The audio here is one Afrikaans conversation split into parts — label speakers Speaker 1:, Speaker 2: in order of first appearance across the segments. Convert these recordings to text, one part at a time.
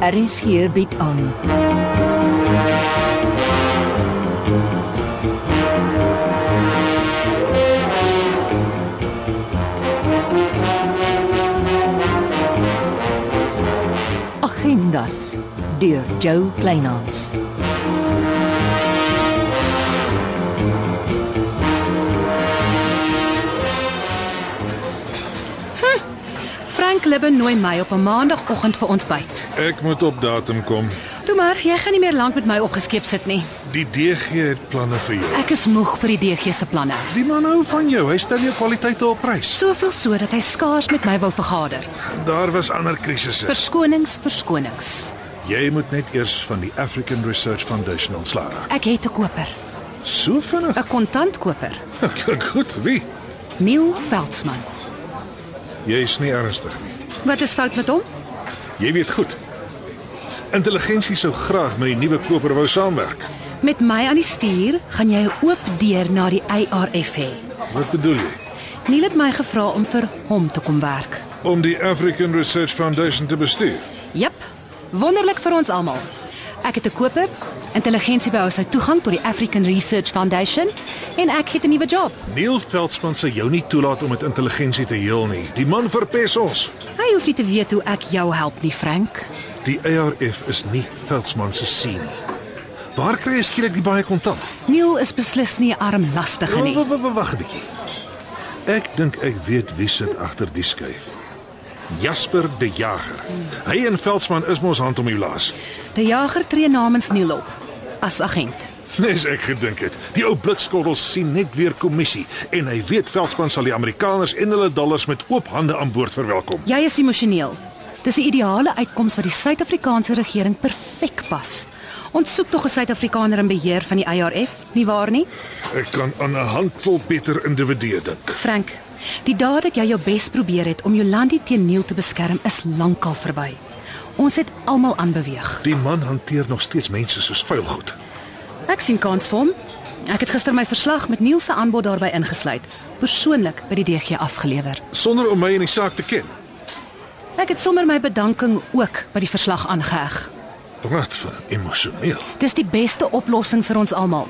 Speaker 1: RSG bied aan. Agendas deur Jo Kleinhans.
Speaker 2: Frank Libben nooi my op 'n maandagooggend vir ontbyt.
Speaker 3: Ek moet op datum kom.
Speaker 2: Toe maar, jy gaan nie meer lank met my opgeskeep sit nie.
Speaker 3: Die DG het planne vir jou.
Speaker 2: Ek is moeg vir die DG se planne.
Speaker 3: Die man hou van jou. Hy stel jou kwaliteite op prys.
Speaker 2: Soveel so dat hy skaars met my wil vergader.
Speaker 3: Daar was ander krisisse.
Speaker 2: Verskonings, verskonings.
Speaker 3: Jy moet net eers van die African Research Foundation ontslaa raak.
Speaker 2: Ek het 'n koper,
Speaker 3: So vinnig.
Speaker 2: 'n kontantkoper,
Speaker 3: Klink goed. Wie?
Speaker 2: Neil Veldsmann.
Speaker 3: Jy's nie ernstig nie.
Speaker 2: Wat is fout met hom?
Speaker 3: Jy weet goed. Intelligensie sou graag met die nuwe koper wou saamwerk.
Speaker 2: Met my aan die stuur gaan jy 'n oop deur na die IRF hê.
Speaker 3: Wat bedoel jy?
Speaker 2: Neil het my gevra om vir hom te kom werk.
Speaker 3: Om die African Research Foundation te bestuur.
Speaker 2: Jep. Wonderlik vir ons almal. Ek het 'n koper, intelligensie by sy toegang tot die African Research Foundation en ek het 'n nuwe job.
Speaker 3: Neil Veldsmann sal jou nie toelaat om met intelligensie te heel nie. Die man verpes ons.
Speaker 2: Hy hoef nie te weet hoe ek jou help nie, Frank.
Speaker 3: Die ARF is nie Veldsmann se sien nie. Waar kry jy skielik die baie kontant?
Speaker 2: Neil is beslis nie 'n armlastige nie.
Speaker 3: Wa- wa- wa- Wag 'n bietjie. Ek dink ek weet wie sit agter die skuif. Jasper die Jager. Hy en Veldsmann is mos hand om die laas.
Speaker 2: Die jager tree namens Neil op as agent.
Speaker 3: Nes ek gedink het. Die ou blikskottel sien net weer kommissie en hy weet Veldsmann sal die Amerikaners en hulle dollars met oop hande aan boord verwelkom.
Speaker 2: Jy is emosioneel. Dis 'n ideale uitkoms wat die Suid-Afrikaanse regering perfek pas. Ons soek tog 'n Suid-Afrikaner in beheer van die IRF, nie waar nie?
Speaker 3: Ek kan aan 'n handvol beter individue dink.
Speaker 2: Frank, die dag dat jy jou bes probeer het om Jolandi teen Neil te beskerm is lankal verby. Ons het almal aanbeweeg.
Speaker 3: Die man hanteer nog steeds mense soos vuil goed.
Speaker 2: Ek sien kans vir hom. Ek het gister my verslag met Neil se aanbod daarbey ingesluit, persoonlik by die DG afgelewer.
Speaker 3: Sonder om my in die saak te ken.
Speaker 2: Ek het sommer my bedanking ook by die verslag aangeheg.
Speaker 3: Praat van emosioneel.
Speaker 2: Dis die beste oplossing vir ons almal.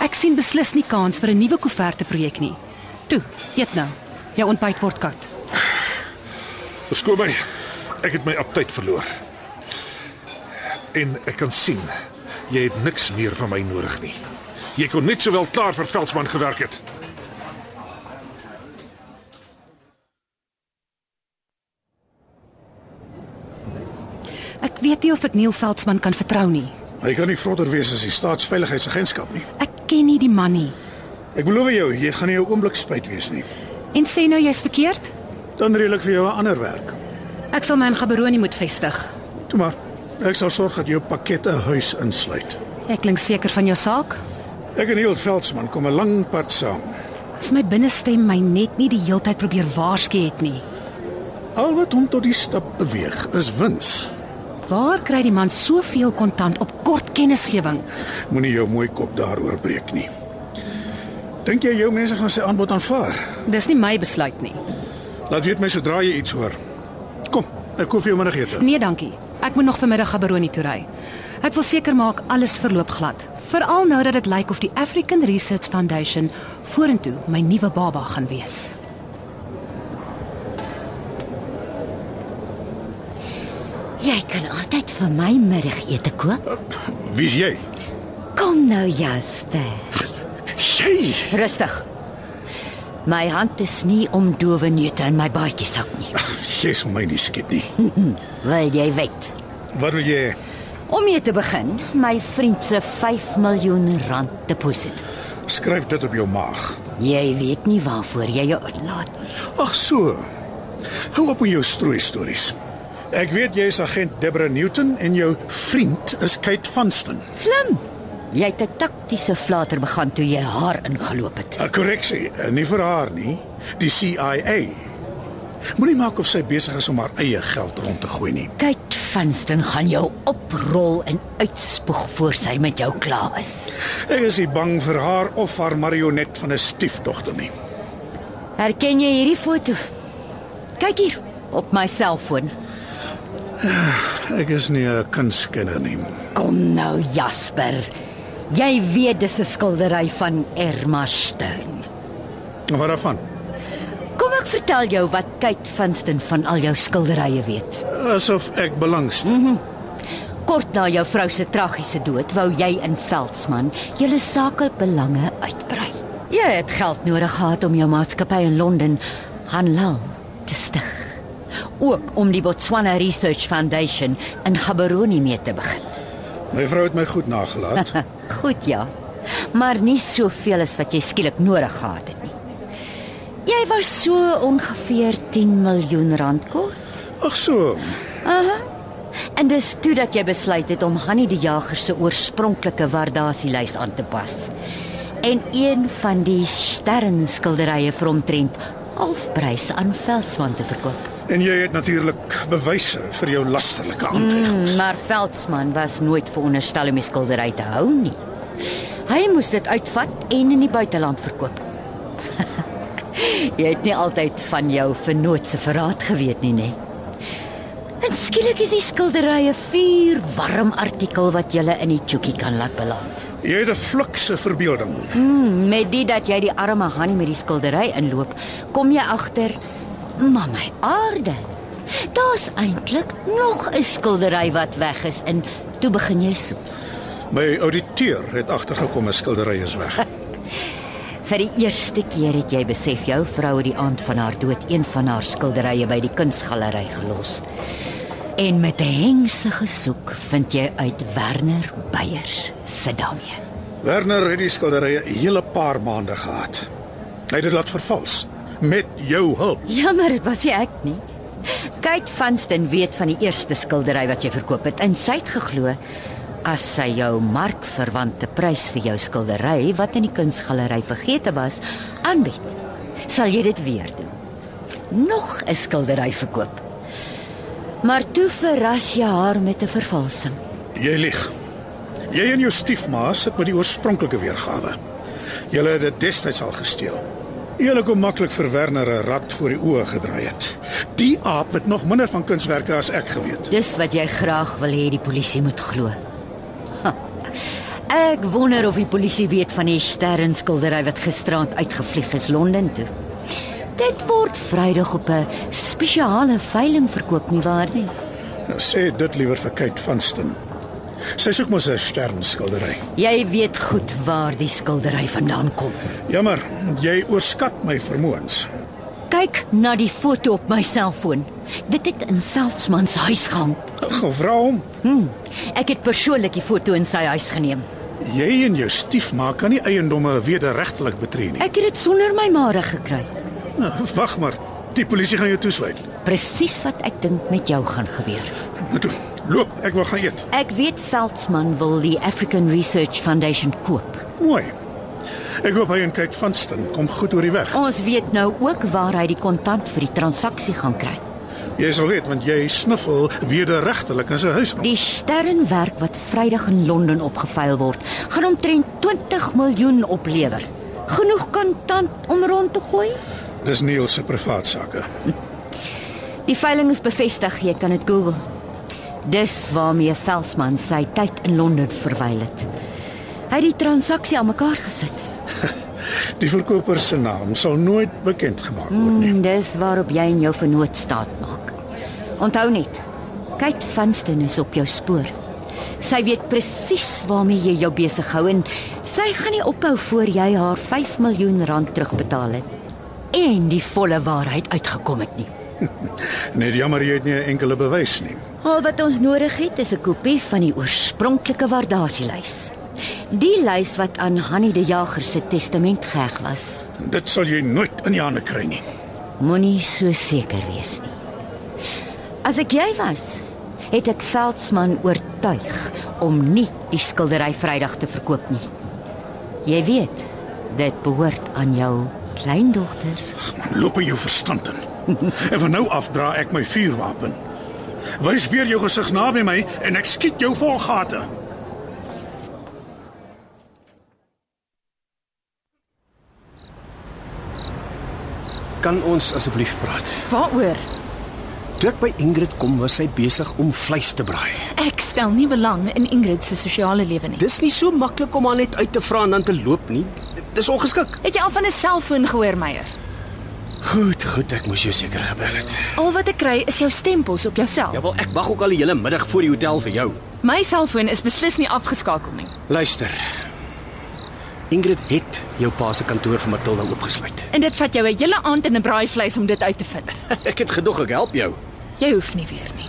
Speaker 2: Ek sien beslis nie kans vir 'n nuwe koeverte projek nie. Toe, eet nou. Jou ontbyt word koud.
Speaker 3: Verskoon my. Ek het my aptyt verloor. En ek kan sien jy het niks meer van my nodig nie. Jy kon net sowel klaar vir Veldsmann gewerk het.
Speaker 2: Ek weet nie of ek Neil Veldsmann kan vertrou nie.
Speaker 4: Hy kan nie vrotter wees as die staatsveiligheidsagentskap nie.
Speaker 2: Ek ken nie die man nie.
Speaker 4: Ek beloof jou, jy gaan nie 'n oomblik spyt wees nie.
Speaker 2: En sê nou jy's verkeerd?
Speaker 4: Dan reël ek vir jou 'n ander werk.
Speaker 2: Ek sal my in Gaberoni moet vestig.
Speaker 4: Toe maar. Ek sal sorg dat jou pakkette huis insluit.
Speaker 2: Ek klink seker van jou saak.
Speaker 4: Ek en Neil Veldsmann kom 'n lang pad saam.
Speaker 2: As my binnestem my net nie die heeltyd probeer waarsku het nie.
Speaker 4: Al wat hom tot die stap beweeg is wins.
Speaker 2: Waar kry die man soveel kontant op kort kennisgewing?
Speaker 4: Moenie jou mooi kop daaroor breek nie. Dink jy jou mense gaan sy aanbod aanvaar?
Speaker 2: Dis nie my besluit nie.
Speaker 4: Laat weet my sodra jy iets hoor. Kom, ek koop vir jou middagete.
Speaker 2: Nee, dankie. Ek moet nog vanmiddag Gaberoni toe ry. Ek wil seker maak alles verloop glad, veral nou dat dit lyk of die African Research Foundation vorentoe my nuwe baba gaan wees.
Speaker 5: Jy kan altyd vir my middagete koop.
Speaker 4: Wie's jy?
Speaker 5: Kom nou Jasper.
Speaker 4: Jy.
Speaker 5: Rustig. My hand is nie om dowe neute in my baadjie sak nie.
Speaker 4: Jy sal my nie skiet nie.
Speaker 5: Wil jy weet?
Speaker 4: Wat wil jy? hê?
Speaker 5: Om mee te begin, my vriend se 5 miljoen rand deposito.
Speaker 4: Skryf dit op jou maag.
Speaker 5: Jy weet nie waarvoor jy jou inlaat nie.
Speaker 4: Ag so. Hou op met jou strooi stories. Ek weet jy is agent Deborah Newton en jou vriend is Kate Vanston.
Speaker 5: Slim. Jy het 'n taktiese flater begaan toe jy haar ingeloop het.
Speaker 4: 'n Korreksie, eh, nie vir haar nie, die CIA. Moenie maak of sy besig is om haar eie geld rond te gooi nie.
Speaker 5: Kyk, Vanston gaan jou oprol en uitspoeg voor sy met jou klaar is.
Speaker 4: Ek is nie bang vir haar of haar marionet van 'n stiefdogter nie.
Speaker 5: Herken jy hierdie foto? Kyk hier op my selfoon.
Speaker 4: Ek is nie 'n kunstkenner nie.
Speaker 5: Kom nou Jasper. Jy weet dis 'n skildery van Erma Steyn.
Speaker 4: Maar Wat daarvan?
Speaker 5: Kom ek vertel jou wat Kate Vanston van al jou skilderye weet.
Speaker 4: Asof ek belangstel.
Speaker 5: Kort na jou vrou se tragiese dood wou jy in Veldsmann julle sakebelange uitbrei. Jy het geld nodig gehad om jou maatskappy in Londen Hanlal te stig. Ook om die Botswana Research Foundation in Gaborone mee te begin.
Speaker 4: My vrou het my goed nagelaat.
Speaker 5: Goed ja. Maar nie soveel as wat jy skielik nodig gehad het nie. Jy was so ongeveer 10 miljoen rand kort.
Speaker 4: Ag so.
Speaker 5: En dis toe dat jy besluit het om Hanni die Jager se oorspronklike waardasielys aan te pas. En een van die sterrenskilderye vir omtrent halfprys aan Veldsmann te verkoop.
Speaker 4: En jy het natuurlik bewyse vir jou lasterlike aantrekking.
Speaker 5: Hmm, Maar Veldsmann was nooit veronderstel om die skildery te hou nie. Hy moes dit uitvat en in die buiteland verkoop. jy het nie altyd van jou vernoot se verraad geweet nie, nê? En skielik is die skilderye vier warm artikel wat jy in die chookie kan laat beland.
Speaker 4: Jy het 'n flikse verbeelding.
Speaker 5: Mm, met dit dat jy die arme Hanni met die skildery inloop, kom jy agter, maar my aarde. Daar's eintlik nog 'n skildery wat weg is en toe begin jy soek.
Speaker 4: My ouditeur het agtergekom 'n skildery is weg.
Speaker 5: Vir die eerste keer het jy besef jou vrou het die aand van haar dood een van haar skilderye by die kunsgalery gelos. En met 'n hengsige soek vind jy uit Werner Beyers se Damien.
Speaker 4: Werner het die skilderye 'n hele paar maande gehad. Hy het dit laat vervals met jou hulp.
Speaker 5: Jammer, dit was nie ek nie. Kate Vanston weet van die eerste skildery wat jy verkoop het en sy het geglo as sy jou markverwante prys vir jou skildery wat in die kunsgalery vergete was aanbied, sal jy dit weer doen. Nog 'n skildery verkoop. Maar toe verras jy haar met 'n vervalsing.
Speaker 4: Jy lieg. Jy en jou stiefma sit met die oorspronklike weergawe. Julle het dit destyds al gesteel. Eerlik hoe maklik vir Werner 'n rad voor die oë gedraai het. Die aap het nog minder van kunswerke as ek geweet.
Speaker 5: Dis wat jy graag wil hê die polisie moet glo. Ha, Ek wonder of die polisie weet van die sterrenskildery wat gisteraand uitgevlieg is Londen toe. Dit word Vrydag op 'n spesiale veiling verkoop nie waar nie?
Speaker 4: Nou, sê dit liewer vir Kate Vanston. Sy soek mos 'n sternskildery.
Speaker 5: Jy weet goed waar die skildery vandaan kom.
Speaker 4: Jammer, jy oorskat my vermoëns.
Speaker 5: Kyk na die foto op my selfoon. Dit het in Veldsmann se huis gehang.
Speaker 4: Gevra hom,
Speaker 5: Hm. Ek het persoonlik die foto in sy huis geneem.
Speaker 4: jy en jou stiefma kan nie eiendomme wederregtelik betree nie. Nou,
Speaker 5: Ek het dit sonder my maare gekry.
Speaker 4: Wag maar, die polisie gaan jou toesluit.
Speaker 5: Presies wat ek dink met jou gaan gebeur.
Speaker 4: Nou toe, loop, ek wil gaan eet.
Speaker 5: Ek weet Veldsmann wil die African Research Foundation koop.
Speaker 4: Mooi. Ek hoop hy en Kate Vanston kom goed oor die weg.
Speaker 5: Ons weet nou ook waar hy die kontant vir die transaksie gaan kry.
Speaker 4: Jy sal weet want jy snuffel wederregtelik in sy huis rond.
Speaker 5: Die sterrenwerk wat Vrydag in Londen opgeveil word, gaan omtrent 20 miljoen oplewer. Genoeg kontant om rond te gooi?
Speaker 4: Dis Neil se privaat sake.
Speaker 5: Die veiling is bevestig, jy kan dit Google. Dis waarmee Veldsmann sy tyd in Londen verwyl het. Hy het die transaksie aan mekaar gesit.
Speaker 4: Die verkoper se naam sal nooit bekend gemaak word nie.
Speaker 5: Mm, dis waarop jy en jou vernoot staat maak. Onthou net, kyk Vanston is op jou spoor. Sy weet presies waarmee jy jou besig hou en sy gaan nie ophou voor jy haar 5 miljoen rand terugbetaal het en die volle waarheid uitgekom het nie.
Speaker 4: Net jammer jy het nie 'n enkele bewys nie.
Speaker 5: Al wat ons nodig het is 'n kopie van die oorspronklike waardasielys. Die lys wat aan Hanni die Jager se testament geheg was.
Speaker 4: Dit sal jy nooit in die hande kry nie.
Speaker 5: Moenie so seker wees nie. As ek jy was, het ek Veldsmann oortuig om nie die skildery Vrydag te verkoop nie. Jy weet, dit behoort aan jou kleindogter.
Speaker 4: Ag man, loop in jou verstand in. En van nou af dra ek my vuurwapen. Wys weer jou gesig naby my en ek skiet jou vol gate.
Speaker 6: Kan ons asseblief praat?
Speaker 2: Waaroor?
Speaker 6: Toe ek by Ingrid kom, was sy besig om vleis te braai.
Speaker 2: Ek stel nie belang in Ingrid se sosiale lewe nie.
Speaker 6: Dis nie so maklik om haar net uit te vra en dan te loop nie. Dis ongeskik.
Speaker 2: Het jy al van 'n selfoon gehoor, Meyer?
Speaker 6: Goed, goed, ek moes jou seker gebel het.
Speaker 2: Al wat ek kry is jou stempels op jou self.
Speaker 6: Ja, wel ek wag ook al die hele middag voor die hotel vir jou.
Speaker 2: My selfoon is beslis nie afgeskakel nie.
Speaker 6: Luister. Ingrid het jou pa se kantoor vir Matilda oopgesluit.
Speaker 2: En dit vat jou 'n hele aand in 'n braaivleis om dit uit te vind.
Speaker 6: Ek het gedog ek help jou.
Speaker 2: Jy hoef nie weer nie.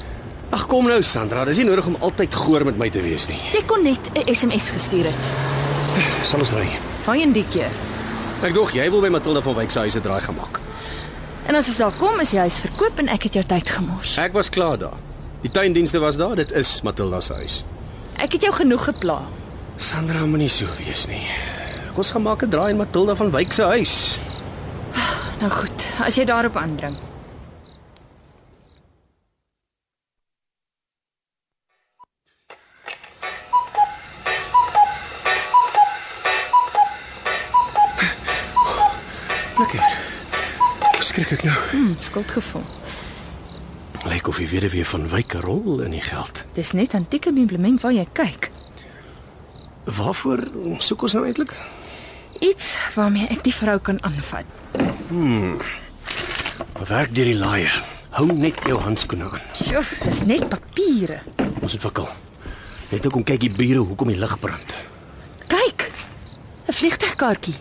Speaker 6: Ag kom nou Sandra, dis nie nodig om altyd goor met my te wees nie.
Speaker 2: Jy kon net 'n SMS gestuur het.
Speaker 6: Sal ons ry.
Speaker 2: Waarheen die keer?
Speaker 6: Ek dog jy wil by Matilda van Wyk se huis 'n draai gemaak.
Speaker 2: En as ons daar kom, is jy huis verkoop en ek het jou tyd gemors.
Speaker 6: Ek was klaar daar. Die tuindienste was daar, dit is Matilda se huis.
Speaker 2: Ek het jou genoeg gepla.
Speaker 6: Sandra moenie so wees nie. Kom ons gaan maak 'n draai in Matilda van Wyk se huis.
Speaker 2: Nou goed, as jy daarop aandring.
Speaker 6: Lekker. Skrik ek nou.
Speaker 2: Hm, skuldgevoel.
Speaker 6: Lyk of die weduwee van Wyk 'n rol in die geld.
Speaker 2: Dis net antieke meublement waar jy kyk.
Speaker 6: Waarvoor soek ons nou eintlik?
Speaker 2: Iets waarmee ek die vrou kan aanvat.
Speaker 6: Werk deur die laaie. Hou net jou handskoene aan.
Speaker 2: Sjoe, dis net papiere.
Speaker 6: Ons moet wikkel. Net ook om kyk die bure hoekom die lig brand.
Speaker 2: Kyk. 'n Vliegtuigkaartjie.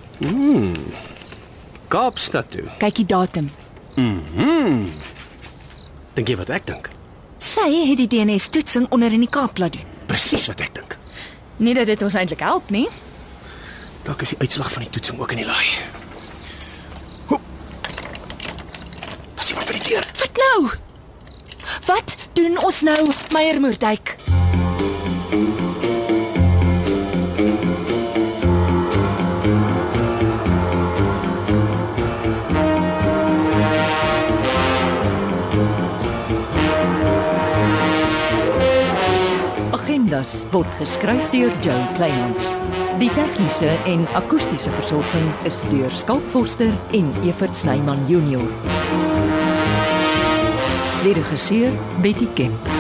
Speaker 6: Kaapstad toe.
Speaker 2: Kyk die datum.
Speaker 6: Dink jy wat ek dink?
Speaker 2: Sy het die DNA-toetsing onder in die Kaap laat doen.
Speaker 6: Presies wat ek dink.
Speaker 2: Nie dat dit ons eintlik help nie.
Speaker 6: Dalk is die uitslag van die toetsing ook in die laai. Hoep. Pas iemand by die deur.
Speaker 2: Wat nou? Wat doen ons nou, Meyer Moerdijk?
Speaker 5: Agendas word geskryf deur Joe Kleinhans. Die tegniese en akoestiese versorging is deur Skalk Forster en Evert Snyman Junior. Die regisseur Betty Kemp.